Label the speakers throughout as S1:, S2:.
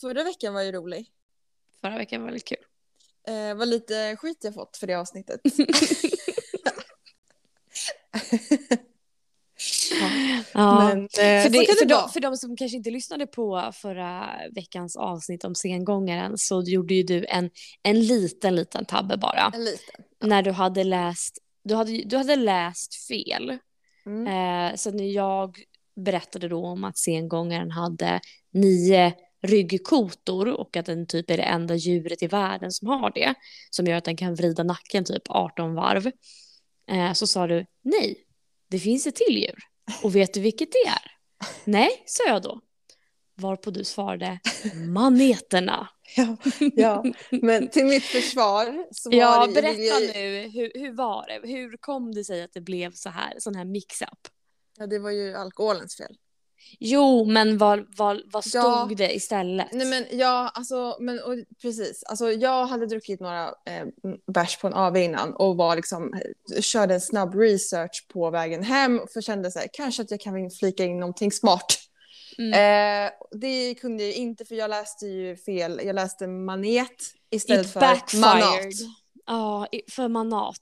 S1: förra veckan var ju rolig.
S2: Förra veckan var väldigt kul.
S1: Eh, vad lite skit jag fått för det avsnittet.
S2: Ja.
S1: Men, eh,
S2: för,
S1: så
S2: det,
S1: kan det
S2: för, de,
S1: vara.
S2: för de som kanske inte lyssnade på förra veckans avsnitt om sengångaren så gjorde ju du en, en liten, liten tabbe bara.
S1: En liten.
S2: När du hade läst, du hade, du hade läst fel. Eh, så när jag berättade då om att sengångaren hade nio ryggkotor och att den typ är det enda djuret i världen som har det, som gör att den kan vrida nacken typ 18 varv, eh, så sa du nej, det finns ett till djur. Och vet du vilket det är? Nej, sa jag då. Varpå du svarade maneterna.
S1: Ja, ja, men till mitt försvar så var
S2: Ja,
S1: det,
S2: berätta nu, hur, hur var det? Hur kom det sig att det blev så här, sån här mix-up?
S1: Ja, det var ju alkoholens fel.
S2: Jo, men vad, vad, vad stod
S1: Ja.
S2: det istället?
S1: Nej men ja, alltså, men, och, precis. Alltså, jag hade druckit några eh, bärs på en AV innan och var liksom, eh, körde en snabb research på vägen hem och kände så här, kanske att jag kan flika in någonting smart.
S2: Mm.
S1: Eh, det kunde jag ju inte för jag läste ju fel, jag läste manet istället
S2: It
S1: för
S2: backfired.
S1: manat.
S2: Ja, i- för manat.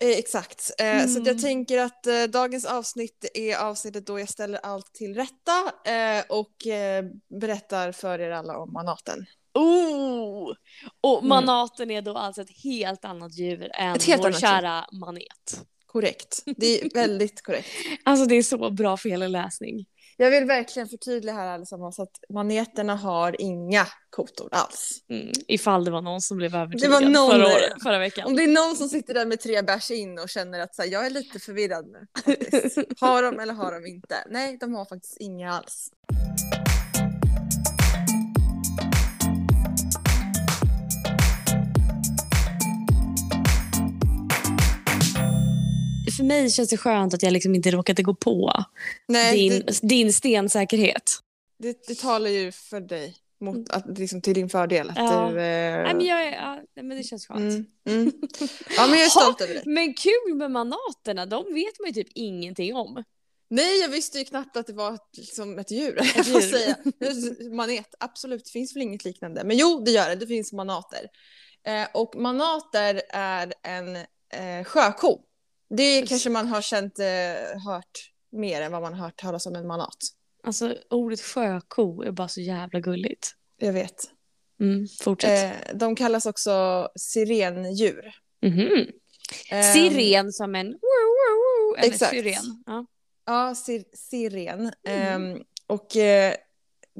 S1: Eh, exakt, eh, så att
S2: Mm.
S1: jag tänker att eh, dagens avsnitt är avsnittet då jag ställer allt till rätta eh, och eh, berättar för er alla om manaten.
S2: Oh! Och
S1: Mm.
S2: manaten är då alltså ett helt annat djur än
S1: Ett helt
S2: vår
S1: annat
S2: kära manet.
S1: Korrekt, det är väldigt korrekt.
S2: Alltså det är så bra felläsning.
S1: Jag vill verkligen förtydliga här allesammans att maneterna har inga kotor alls.
S2: Mm. Ifall det var någon som blev övertygad
S1: var någon
S2: förra,
S1: där.
S2: året, förra
S1: Om
S2: veckan.
S1: det är någon som sitter där med tre bärs in och känner att så här, jag är lite förvirrad nu. faktiskt. Har de eller har de inte? Nej, de har faktiskt inga alls.
S2: För mig känns det skönt att jag liksom inte råkade gå på
S1: Nej,
S2: din,
S1: det,
S2: din stensäkerhet.
S1: det, det talar ju för dig. Mot, att, liksom, till din fördel att
S2: Ja.
S1: du... Eh...
S2: Nej, men, jag, är- ja, nej, men det känns skönt.
S1: mm, mm. Ja, men jag är stolt över dig.
S2: Men kul med manaterna, de vet man ju typ ingenting om.
S1: Nej, jag visste ju knappt att det var ett, liksom ett djur.
S2: Ett
S1: Jag får
S2: djur.
S1: säga. Just Manet, absolut, det finns väl inget liknande. Men jo, det gör det, det finns manater. Eh, och manater är en eh, sjöko. Det kanske man har känt, eh, hört mer än vad man har hört talas om en manat.
S2: Alltså ordet sjöko är bara så jävla gulligt.
S1: Jag vet.
S2: Mm, fortsätt.
S1: Eh, de kallas också sirendjur.
S2: Mhm.
S1: Eh,
S2: Siren som en... Eller
S1: exakt.
S2: Siren. Ja.
S1: Ja, sir siren.
S2: Mm.
S1: Ehm, och eh,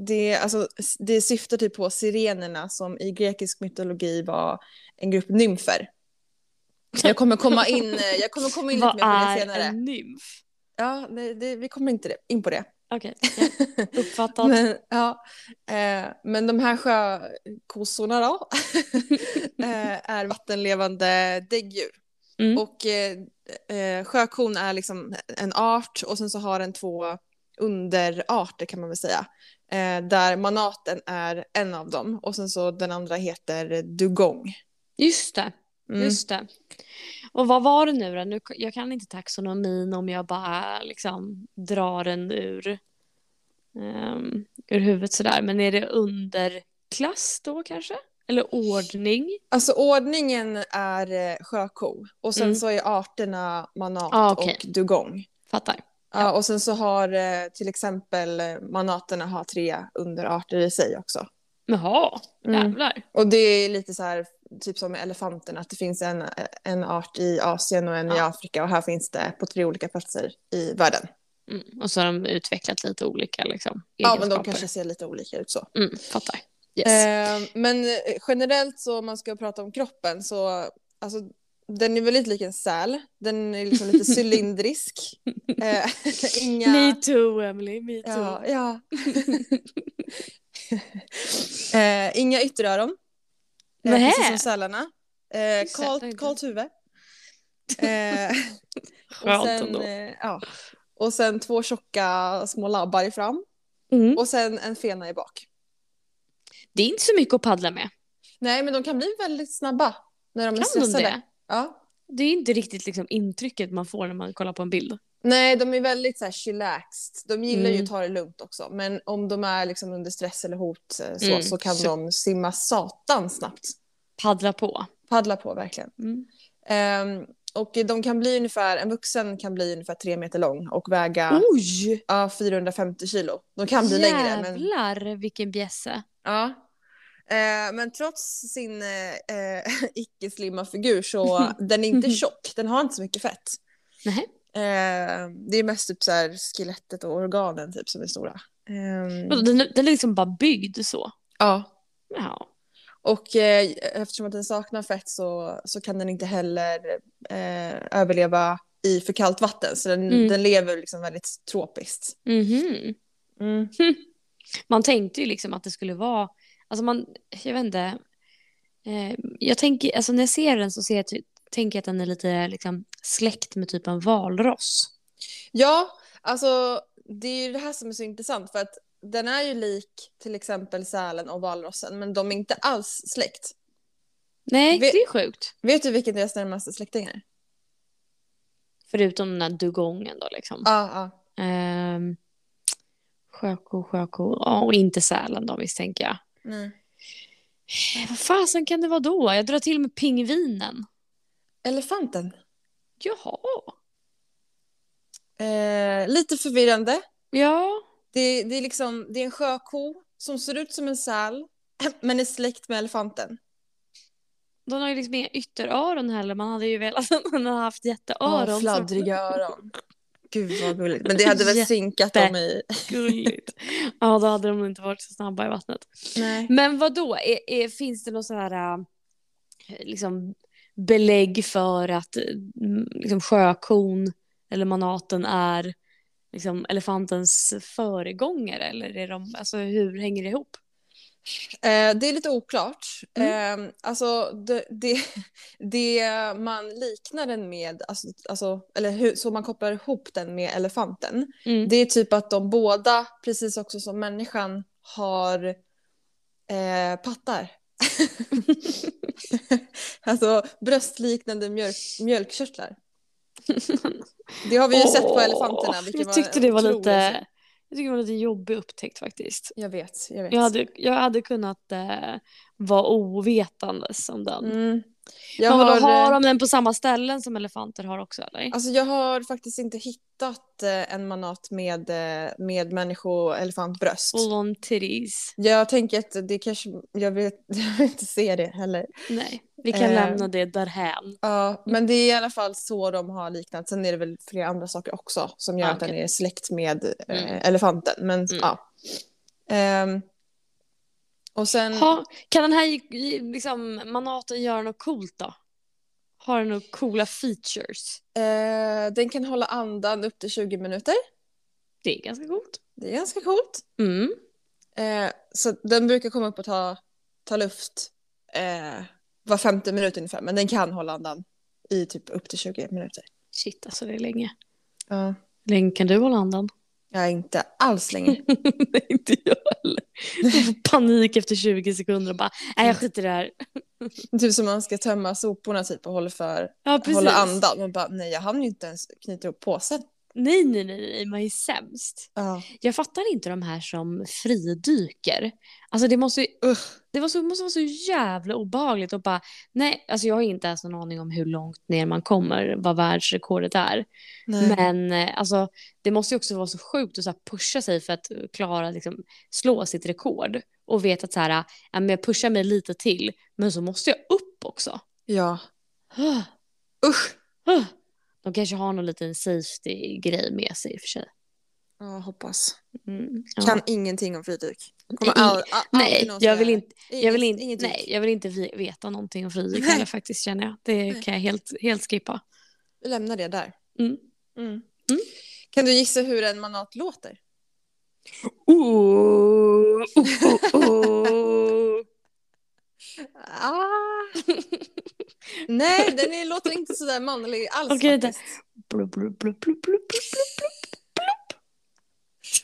S1: det, alltså, s- det syftar typ på sirenerna som i grekisk mytologi var en grupp nymfer. Jag kommer komma in, eh, jag kommer komma in lite
S2: Vad
S1: mer på det
S2: är
S1: senare.
S2: en nymf?
S1: Ja, det, det, vi kommer inte det, in på det.
S2: Okej, ja. uppfattat.
S1: Men, ja, eh, men de här sjökossorna då eh, är vattenlevande däggdjur.
S2: Mm.
S1: Och eh, eh, sjökon är liksom en art och sen så har den två underarter kan man väl säga. Eh, där manaten är en av dem och sen så den andra heter dugong.
S2: Just det,
S1: Mm.
S2: just det. Och vad var det nu då? Nu, jag kan inte taxonomin om jag bara liksom drar den ur, ehm, ur huvudet sådär. Men är det underklass då kanske? Eller ordning?
S1: Alltså ordningen är eh, sjöko och sen
S2: Mm.
S1: så är arterna manat
S2: Ah, okej.
S1: och dugong.
S2: Fattar.
S1: Ja, och sen så har eh, till exempel eh, manaterna har tre underarter i sig också.
S2: Jaha,
S1: Mm.
S2: jävlar.
S1: Och det är lite så här, typ som med elefanten, att det finns en, en art i Asien och en i
S2: Ja.
S1: Afrika och här finns det på tre olika platser i världen.
S2: Mm. Och så har de utvecklat lite olika liksom,
S1: Ja, men de
S2: egenskaper.
S1: kanske ser lite olika ut så.
S2: Mm, fattar. Yes.
S1: Eh, men eh, generellt så om man ska prata om kroppen så, alltså den är väldigt lik en säl. Den är liksom lite cylindrisk. Eh, inga...
S2: Me too, Emily. Me too.
S1: Ja, ja. eh, inga ytteröron. Eh,
S2: Nähä.
S1: precis som sälarna. Eh,
S2: Just det,
S1: kalt,
S2: tänkte
S1: kalt huvud. Eh, och,
S2: Skönt
S1: sen,
S2: ändå.
S1: eh, ja. och sen två tjocka små labbar i fram.
S2: Mm.
S1: Och sen en fena i bak.
S2: Det är inte så mycket att paddla med.
S1: Nej, men de kan bli väldigt snabba när de är
S2: Kan de
S1: stressade.
S2: det?
S1: Ja.
S2: Det är inte riktigt liksom, intrycket man får när man kollar på en bild.
S1: Nej, de är väldigt så här chillaxed. De gillar ju
S2: Mm.
S1: att ta det lugnt också. Men om de är liksom under stress eller hot eh, så,
S2: Mm,
S1: så kan
S2: så-
S1: de simma satan snabbt.
S2: Paddla på.
S1: Paddla på verkligen.
S2: Mm.
S1: Ehm, och de kan bli ungefär, en vuxen kan bli ungefär tre meter lång och väga
S2: Mm. Oj!
S1: ja, 450 kilo. De kan bli längre. Men,
S2: Jävlar vilken bjässe.
S1: ja. Eh, men trots sin eh, eh, icke-slimma figur så den är inte tjock. Den har inte så mycket fett.
S2: Nej.
S1: Eh, det är mest typ så här skelettet och organen typ som är stora. Ehm,
S2: Vadå, Den, den är liksom bara byggd så.
S1: ja.
S2: Ja.
S1: Och eh, eftersom att den saknar fett så, så kan den inte heller eh, överleva i för kallt vatten. Så den,
S2: Mm.
S1: den lever liksom väldigt tropiskt.
S2: Mhm.
S1: Mm.
S2: Man tänkte ju liksom att det skulle vara, alltså man, jag vet inte. Eh, jag tänker, alltså när jag ser den så ser jag, ty- tänker jag att den är lite liksom släkt med typ en valross.
S1: Ja, alltså det är ju det här som är så intressant för att den är ju lik till exempel sälen och valrossen men de är inte alls släkt.
S2: Nej,
S1: Vi-
S2: det är sjukt.
S1: Vet du vilken deras närmaste släkting är?
S2: Förutom den där dugongen då liksom.
S1: Ja, ja.
S2: Ehm, sjöko, sjöko. Ja, och inte sälen då misstänker jag.
S1: Nej.
S2: Eh, Vad fasen kan det vara då? Jag drar till med pingvinen.
S1: Elefanten.
S2: Jaha.
S1: Eh, lite förvirrande.
S2: Ja.
S1: Det, det, är liksom, det är en sjöko som ser ut som en säl men är släkt med elefanten.
S2: Den har ju liksom inga ytteröron heller. Man hade ju velat att den hade haft jätteöron.
S1: Ja,
S2: så-
S1: fladdriga öron. Gud vad gulligt. Men det hade väl
S2: Jätte-
S1: sinkat dem i...
S2: Gulligt. Ja, då hade de inte varit så snabba i vattnet.
S1: Nej.
S2: Men vad då? Är, är, finns det någon sån här äh, liksom, belägg för att äh, m- liksom, sjökon eller manaten är liksom, elefantens föregångare? Eller är de, alltså, hur hänger det ihop?
S1: Eh, det är lite oklart.
S2: Mm.
S1: Eh, alltså det, det, det man liknar den med, alltså, alltså, eller hur, så man kopplar ihop den med elefanten.
S2: Mm.
S1: Det är typ att de båda, precis också som människan, har eh, pattar. alltså bröstliknande mjölk, mjölkkörtlar. Det har vi ju sett på
S2: Åh,
S1: elefanterna. vilket
S2: Jag
S1: var
S2: tyckte det var
S1: otroligt.
S2: lite... Jag tycker det var lite jobbig upptäckt faktiskt.
S1: Jag vet, jag vet.
S2: Jag hade, jag hade kunnat eh, vara ovetandes om den.
S1: Mm.
S2: Jag
S1: Jag,
S2: men vadå, har,
S1: har,
S2: de den på samma ställen som elefanter har också eller?
S1: alltså jag har faktiskt inte hittat eh, en manat med, eh, med människo och elefantbröst.
S2: Full on titties.
S1: Jag tänker att det kanske, jag, vet, jag vill inte se det heller.
S2: Nej, Ehm. vi kan
S1: Eh.
S2: lämna det därhän.
S1: Ja, men det är i alla fall så de har liknat. Sen är det väl flera andra saker också som gör
S2: Ah,
S1: att den
S2: okej.
S1: är släkt med eh,
S2: Mm.
S1: elefanten. Men
S2: Mm.
S1: ja. Ehm, och sen,
S2: Ha, kan den här i- liksom, manaten göra något coolt då? Har den några coola features?
S1: eh, den kan hålla andan upp till 20 minuter.
S2: Det är ganska coolt.
S1: Det är ganska coolt.
S2: Mm.
S1: Eh, så den brukar komma upp och ta, ta luft eh, var femte minut ungefär, men den kan hålla andan i typ upp till 20 minuter.
S2: Shit alltså det är länge.
S1: Ja.
S2: Hur länge kan du hålla andan?
S1: Jag är inte alls länge.
S2: Nej inte jag heller. Jag får panik efter 20 sekunder och bara, nej jag skiter i det här.
S1: typ som man ska tömma soporna typ och håller för,
S2: Ja precis.
S1: hålla andan. Man bara, nej jag hann ju inte ens knyta ihop påsen.
S2: Nej nej nej, nej man är sämst.
S1: Ja.
S2: Jag fattar inte de här som fridyker. Alltså det måste, ju, det var så, måste vara så jävla obehagligt och bara, nej, alltså jag har inte ens någon aning om hur långt ner man kommer, vad världsrekordet är.
S1: Nej.
S2: Men eh, alltså, det måste ju också vara så sjukt att så här, pusha sig för att klara, liksom, slå sitt rekord och veta att så här, ja, men jag pushar mig lite till, men så måste jag upp också.
S1: Ja.
S2: Ah,
S1: Usch.
S2: ah. De kanske har någon liten safety-grej med sig i och för sig.
S1: Ja, hoppas.
S2: Mm, ja.
S1: Kan ingenting om fridyk. Kommer
S2: Ing-
S1: all, all,
S2: Nej,
S1: alltid någon som
S2: jag
S1: gör
S2: vill
S1: det.
S2: inte. Jag vill,
S1: Inget-
S2: in,
S1: inget dyk.
S2: nej, jag vill inte vi- veta någonting om friidrott
S1: Nej.
S2: heller faktiskt känner jag. Det kan jag helt, helt skippa.
S1: Vi lämnar det där.
S2: Mm.
S1: Mm. Kan du gissa hur en manat låter?
S2: Oh, oh, oh.
S1: Ah. Nej, den är, låter inte sådär manlig alls
S2: Okej, det-
S1: faktiskt.
S2: Blu, blu, blu, blu, blu,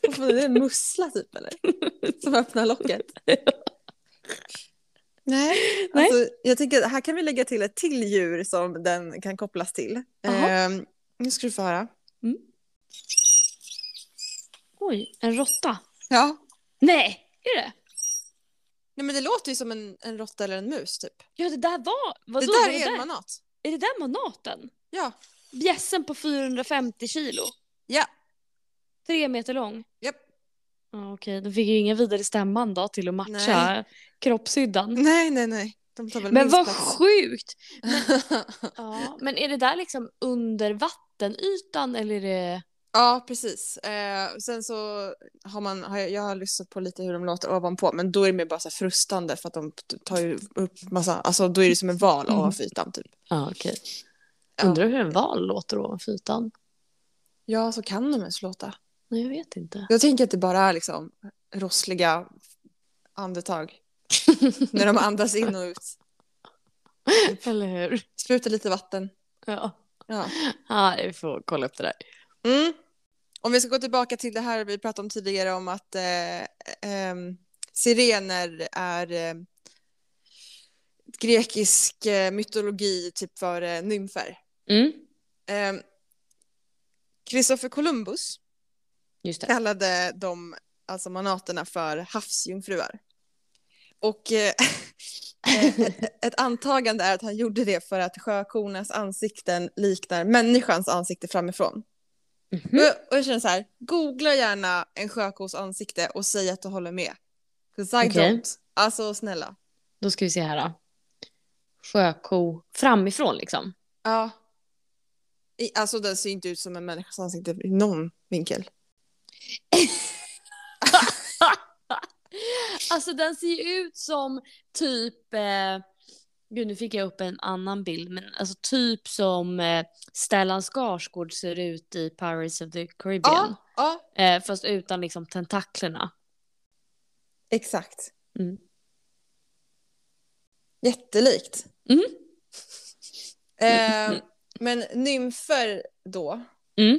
S1: Vad fan, är det en mussla typ eller? Som öppnar locket. Nej,
S2: Nej.
S1: Alltså, jag tänker att här kan vi lägga till ett till djur som den kan kopplas till.
S2: Jaha.
S1: Ehm, nu ska du få höra.
S2: Mm. Oj, en råtta.
S1: Ja.
S2: Nej, är det?
S1: Nej men det låter ju som en, en råtta eller en mus typ.
S2: Ja, det där var... Vadå,
S1: det där
S2: var
S1: är en
S2: där?
S1: manat.
S2: Är det där manaten?
S1: Ja.
S2: Bjässen på 450 kilo.
S1: Ja.
S2: Tre meter lång.
S1: Japp.
S2: Ja, Okej, de fick ju inga vidare stämman då till att matcha kroppshyddan.
S1: Nej, nej, nej. De tar väl
S2: Men
S1: minst
S2: vad
S1: plats.
S2: sjukt! Ja, men är det där liksom under vattenytan eller är det...
S1: Ja, precis. Eh, sen så har man, har jag, jag har lyssnat på lite hur de låter ovanpå, men då är det mer bara så här frustande för att de t- tar ju upp massa, alltså då är det som en val
S2: Mm.
S1: ovanför ytan typ.
S2: Ja, okej.
S1: Ja.
S2: Undrar hur en val låter ovanför ytan?
S1: Ja, så kan de ens låta.
S2: Nej, jag vet inte.
S1: Jag tänker att det bara är liksom rossliga andetag när de andas in och ut.
S2: eller hur?
S1: Sprutar lite vatten.
S2: Ja.
S1: Ja.
S2: ja, vi får kolla upp det där.
S1: Mm. Om vi ska gå tillbaka till det här vi pratade om tidigare om att eh, ehm, sirener är eh, grekisk eh, mytologi typ för eh, nymfer.
S2: Mm,
S1: Ehm, Christopher Columbus
S2: just det.
S1: kallade de alltså manaterna för havsjungfruar. Och eh, ett, ett antagande är att han gjorde det för att sjökornas ansikten liknar människans ansikte framifrån.
S2: Mhm.
S1: Och jag- Och jag känner så här, googla gärna en sjökos ansikte och säg att du håller med. 'Cause I
S2: Okej.
S1: don't. Alltså snälla.
S2: Då ska vi se här då. Sjöko framifrån liksom.
S1: Ja. I, alltså den ser inte ut som en människas ansikte i någon vinkel.
S2: Alltså den ser ju ut som typ, eh, gud nu fick jag upp en annan bild, men alltså typ som eh, Stellan Skarsgård ser ut i Pirates of the Caribbean.
S1: Ja, ja,
S2: Eh, fast utan liksom tentaklerna.
S1: exakt.
S2: Mm.
S1: Jättelikt.
S2: Mm.
S1: Eh, men nymfer då,
S2: Mm.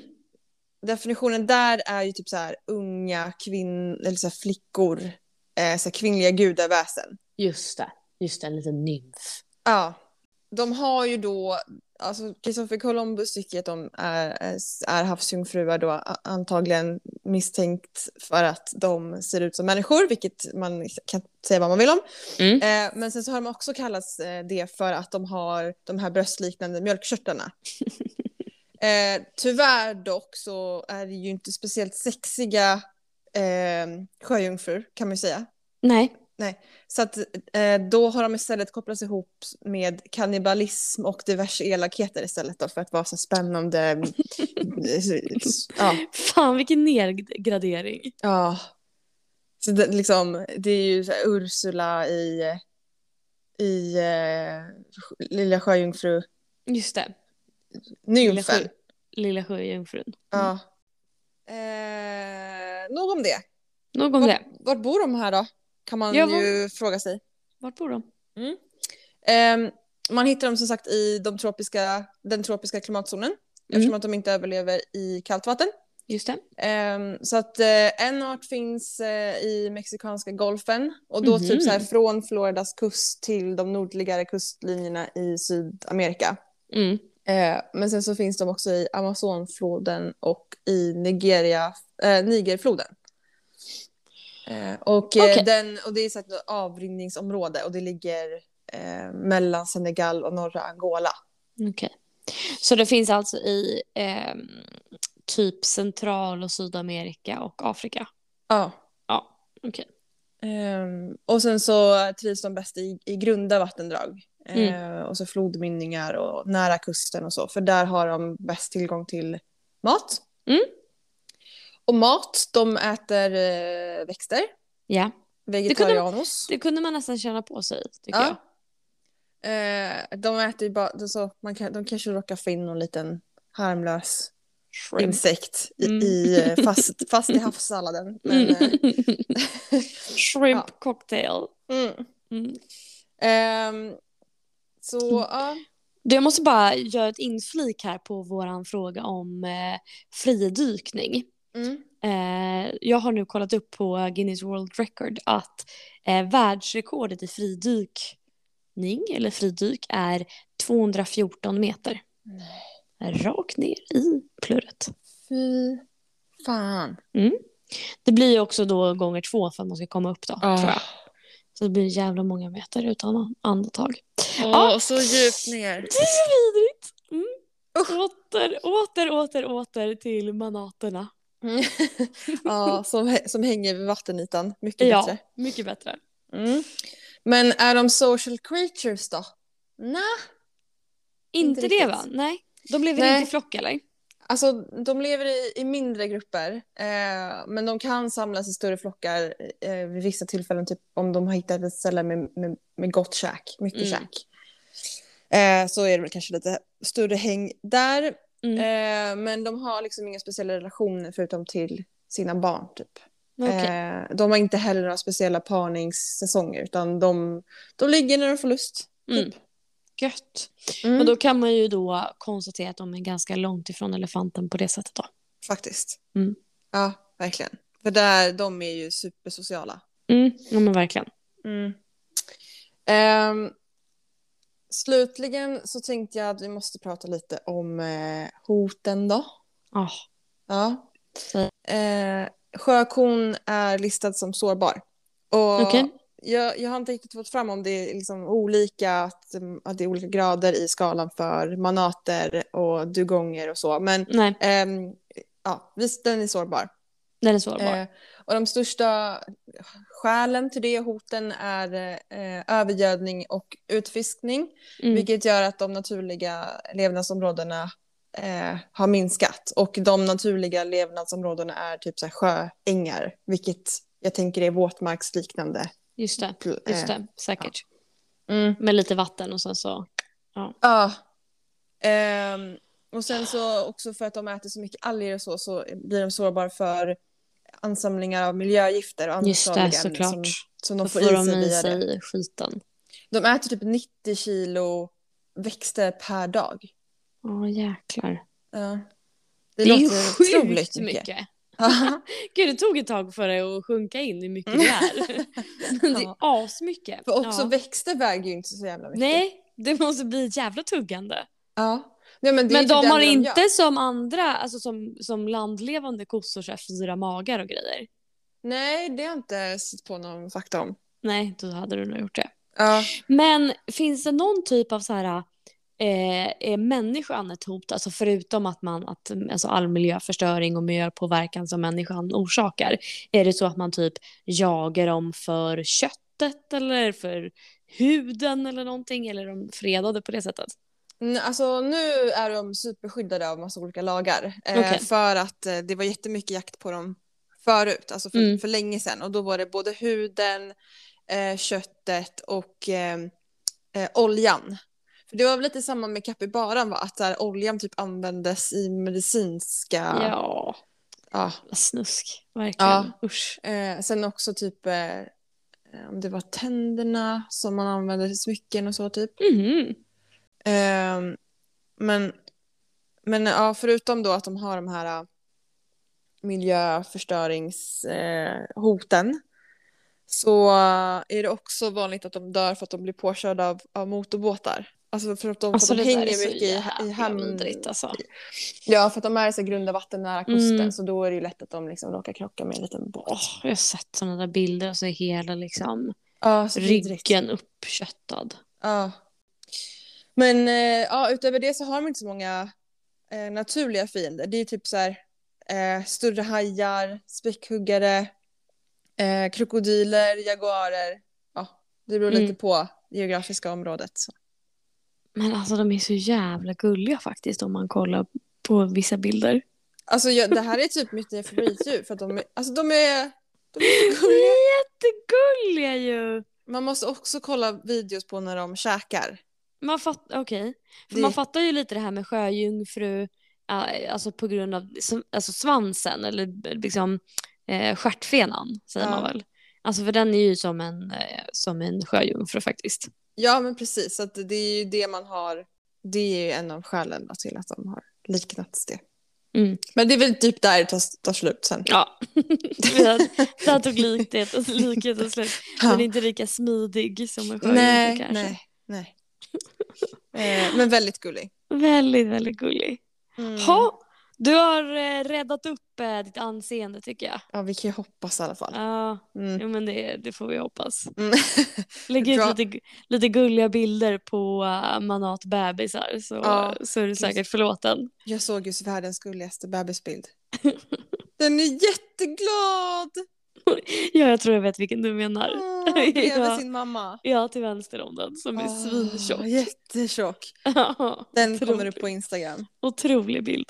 S1: definitionen där är ju typ så här unga kvinnor, eller så här flickor, eh, så här kvinnliga gudaväsen.
S2: Just det, just det, en liten nymf.
S1: Ja. De har ju då, alltså Christopher Columbus tycker att de är, är havsjungfruar då a- antagligen misstänkt för att de ser ut som människor, vilket man kan säga vad man vill om.
S2: Mm.
S1: Eh, men sen så har de också kallats eh, det för att de har de här bröstliknande mjölkkörtlarna. Eh, tyvärr dock så är det ju inte speciellt sexiga eh, sjöjungfrur kan man ju säga.
S2: Nej.
S1: Så att eh, då har de istället kopplats ihop med kannibalism och diverse elakheter istället då för att vara så spännande. ja,
S2: Fan vilken nedgradering.
S1: ja. Så det, liksom, det är ju så här Ursula i, i eh, Lilla Sjöjungfru,
S2: Just det, Lilla
S1: nymfen.
S2: Sjö- Lilla Sjöjungfrun.
S1: Ja. Eh, nog om det.
S2: Nog om det.
S1: Vart bor de här då? Kan man
S2: Ja, var-
S1: ju fråga sig.
S2: Vart bor de?
S1: Ehm, man hittar dem som sagt i de tropiska, den tropiska klimatzonen eftersom att de inte överlever i kallt vatten.
S2: Just det.
S1: Ehm, så att eh, en art finns eh, i mexikanska golfen och då
S2: Mhm.
S1: typ så här från Floridas kust till de nordligare kustlinjerna i Sydamerika.
S2: Mm.
S1: Eh, men sen så finns de också i Amazonfloden och i Nigeria, eh, Nigerfloden. Eh, och, eh,
S2: Okej.
S1: den, och det är så här ett avrinningsområde och det ligger eh, mellan Senegal och norra Angola.
S2: Okej. Så det finns alltså i ehm, typ Central och Sydamerika och Afrika?
S1: Ja.
S2: Ja, okej.
S1: Ehm, och sen så trivs de bäst i, i grunda vattendrag.
S2: Mm.
S1: Eh, och så flodmynningar och nära kusten och så. För där har de bäst tillgång till mat.
S2: Mm.
S1: Och mat, de äter eh, växter.
S2: Ja,
S1: Vegetarianos.
S2: det kunde man nästan känna på sig tycker jag.
S1: Ja. Eh, de äter ju bara, de, så, man kan, de kanske råkar få in någon liten harmlös
S2: Shrimp.
S1: insekt i,
S2: Mm.
S1: i, eh, fast, fast i havssalladen. Men, eh,
S2: Shrimp cocktail.
S1: mm.
S2: Mm.
S1: Ehm, så ja,
S2: Du, jag måste bara göra ett inflik här på vår fråga om eh, fridykning.
S1: mm.
S2: Eh, jag har nu kollat upp på Guinness World Record att eh, världsrekordet i fridykning, eller fridyk, är 214 meter.
S1: Nej.
S2: Rakt ner i plurret.
S1: fy fan.
S2: Mm. Det blir ju också då gånger två för att man ska komma upp då,
S1: Ja.
S2: tror jag. Så det blir jävla många meter utan andetag.
S1: Åh, så djupt ner.
S2: Det är vidrigt. Mm.
S1: Usch.
S2: Åter, åter, åter, åter till manaterna.
S1: ja, som, hä- som hänger vid vattenytan. Mycket
S2: Ja.
S1: bättre.
S2: Mycket bättre.
S1: Mm. Men är de social creatures då? Nej. Inte
S2: Inte, det
S1: riktigt.
S2: va? Nej. De lever
S1: Nej.
S2: inte i flock eller?
S1: Alltså, de lever i, i mindre grupper, eh, men de kan samlas i större flockar eh, vid vissa tillfällen, typ om de har hittat ett ställe med, med, med gott käk, mycket
S2: Mm.
S1: käk. Eh, så är det väl kanske lite större häng där,
S2: Mm.
S1: eh, men de har liksom inga speciella relationer förutom till sina barn, typ.
S2: Okej.
S1: Eh, de har inte heller några speciella parningssäsonger, utan de, de ligger när de får lust.
S2: Mm.
S1: Typ.
S2: Gött.
S1: Mm.
S2: Och då kan man ju då konstatera att de är ganska långt ifrån elefanten på det sättet då.
S1: Faktiskt.
S2: Mm.
S1: Ja, verkligen. För där, de är ju supersociala.
S2: Mm. Ja men verkligen.
S1: Mm. Ehm, slutligen så tänkte jag att vi måste prata lite om eh, hoten då.
S2: Ah.
S1: Ja.
S2: Mm.
S1: Eh, sjökon är listad som sårbar. Och
S2: Okej.
S1: jag, jag har inte riktigt fått fram om det är liksom olika, att, mm, att det är olika grader i skalan för manater och dugonger och så. Men
S2: Nej,
S1: ehm, ja, visst, den är sårbar.
S2: den är sårbar.
S1: Eh, och de största skälen till det hoten är eh, övergödning och utfiskning,
S2: Mm.
S1: vilket gör att de naturliga levnadsområdena eh, har minskat. Och de naturliga levnadsområdena är typ så här, sjöängar, vilket jag tänker är våtmarksliknande.
S2: Just det,
S1: pl- eh,
S2: just det. Säkert.
S1: Mm.
S2: Med lite vatten och sen så.
S1: Ja. Ehm, och sen så också för att de äter så mycket alger och så, så blir de sårbara för ansamlingar av miljögifter och andra
S2: Just
S1: farliga
S2: det,
S1: ämnen som,
S2: såklart.
S1: som
S2: Då
S1: de får,
S2: får
S1: i
S2: de
S1: sig
S2: i
S1: via det.
S2: sig skiten.
S1: De äter typ 90 kilo växter per dag.
S2: Ja, jäklar.
S1: Ja.
S2: Det,
S1: Det,
S2: är ju
S1: låter otroligt
S2: sjukt mycket.
S1: mycket. Ja.
S2: Gud, det tog ett tag för dig att sjunka in hur mycket det är. Det är
S1: Mm. Ja.
S2: asmycket.
S1: För också
S2: Ja.
S1: växter väger ju inte så jävla mycket.
S2: Nej, det måste bli ett jävla tuggande.
S1: Ja. Nej, men det är
S2: Men
S1: ju typ
S2: de
S1: det
S2: har
S1: enda
S2: inte
S1: gör.
S2: som andra, alltså som, som landlevande kossor, så här fyra magar och grejer.
S1: Nej, det har jag inte sett på någon fakta om.
S2: Nej, då hade du nog gjort det.
S1: Ja.
S2: Men finns det någon typ av så här, eh, är människan ett hot? Alltså förutom att, man, att alltså all miljöförstöring och miljöpåverkan som människan orsakar. Är det så att man typ jagar dem för köttet eller för huden eller någonting? Eller är de fredade på det sättet?
S1: Mm, Alltså nu är de superskyddade av massa olika lagar. Eh,
S2: Okej.
S1: För att eh, det var jättemycket jakt på dem förut, alltså för,
S2: Mm.
S1: för länge sedan. Och då var det både huden, eh, köttet och eh, eh, oljan. För det var väl lite samma med kapybaran va? Att så här, oljan typ användes i medicinska...
S2: Ja,
S1: Ja.
S2: snusk. Verkligen. Usch.
S1: Eh, sen också typ eh, om det var tänderna som man använde till smycken och så typ.
S2: Mhm.
S1: Ehm, men men ja, förutom då att de har de här äh, ä, miljöförstöringshoten äh, så ä, är det också vanligt att de dör för att de blir påkörda av, av motorbåtar. Alltså för att de, för
S2: Alltså det
S1: att de
S2: där är
S1: hänger
S2: så
S1: mycket i, i
S2: jävla
S1: hamn.
S2: vidrigt alltså.
S1: Ja, för att de är i så grunda vatten nära kusten
S2: Mm.
S1: så då är det ju lätt att de liksom råkar krocka med en liten båt.
S2: Åh, jag har sett sådana där bilder och så är hela liksom
S1: Ja, så vidrigt.
S2: ryggen uppköttad.
S1: Ja. Men eh, ja, utöver det så har de inte så många eh, naturliga fiender. Det är typ så här eh, större hajar, späckhuggare, eh, krokodiler, jaguarer. Ja, det beror lite
S2: Mm.
S1: på det geografiska området. Så.
S2: Men alltså de är så jävla gulliga faktiskt om man kollar på vissa bilder.
S1: Alltså jag, det här är typ mitt nya favoritdjur för att de är, alltså de är, de är så
S2: De
S1: gulliga.
S2: är jättegulliga ju!
S1: Man måste också kolla videos på när de käkar.
S2: Man, fatt, okej. För
S1: Det-
S2: man fattar ju lite det här med sjöjungfru, eh, alltså på grund av sv- alltså svansen eller b- liksom eh, stjärtfenan säger
S1: Ja.
S2: man väl. Alltså för den är ju som en, eh, som en sjöjungfru faktiskt.
S1: Ja men precis, så att det är ju det man har, det är ju en av skälen då till att de har liknats det.
S2: Mm.
S1: Men det är väl typ där det tar, tar slut sen.
S2: Ja, där, där tog likheten, likheten slut. Den är inte lika smidig som en sjöjungfru
S1: nej,
S2: kanske.
S1: nej, nej. Eh, men väldigt gullig.
S2: Väldigt, väldigt gullig.
S1: Mm.
S2: Ja, Du har eh, räddat upp eh, ditt anseende tycker jag.
S1: Ja, vi kan ju hoppas i alla fall.
S2: Ja,
S1: Mm.
S2: jo, men det, det får vi hoppas.
S1: Mm.
S2: Lägg ut
S1: Bra.
S2: lite, gu- lite gulliga bilder på uh, manat bebisar så,
S1: Ja,
S2: så är du
S1: precis.
S2: säkert förlåten.
S1: Jag såg just världens gulligaste bebisbild. Den är jätteglad!
S2: Ja, jag tror jag vet vilken du menar.
S1: Åh, bredvid
S2: Ja.
S1: sin mamma.
S2: Ja, till vänster om den som är
S1: Åh,
S2: svintjock.
S1: Jättetjock.
S2: Ja,
S1: Ah. Den
S2: otrolig-
S1: kommer upp på Instagram. Mm.
S2: Otrolig bild.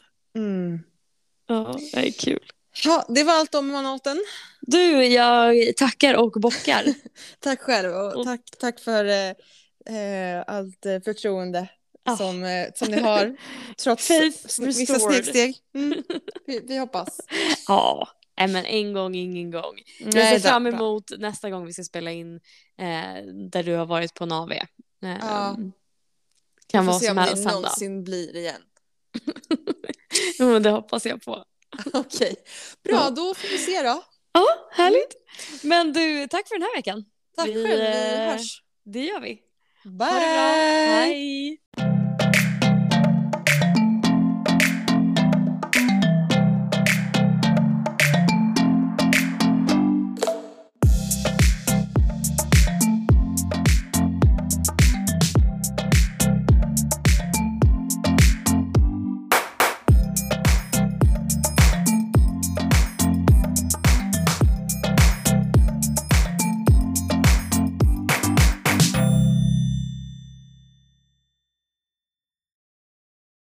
S2: Ja, det är kul.
S1: Ja, det var allt om manaten.
S2: Du, jag tackar och bockar.
S1: Tack själv och
S2: Och-
S1: tack, tack för eh, eh, allt eh, förtroende
S2: Ah.
S1: som, eh, som ni har. Trots
S2: Faith
S1: sn- vissa
S2: restored.
S1: snedsteg. Mm. Vi, vi hoppas.
S2: Ja, nej, men en gång ingen gång. Jag
S1: Nej
S2: ser
S1: då,
S2: fram
S1: bra.
S2: emot nästa gång vi ska spela in eh, där du har varit på en AV. Eh,
S1: Ja.
S2: Kan
S1: Vi
S2: vara
S1: får se
S2: som
S1: om det
S2: helst hända.
S1: någonsin blir igen.
S2: Jo, det hoppas jag på.
S1: Okej, bra
S2: Ja.
S1: då får vi se då.
S2: Ja, härligt.
S1: Mm.
S2: Men du, tack för den här veckan.
S1: Tack
S2: Vi,
S1: själv, vi
S2: eh,
S1: hörs.
S2: Det gör vi.
S1: Bye!
S2: Ha det bra. Hej.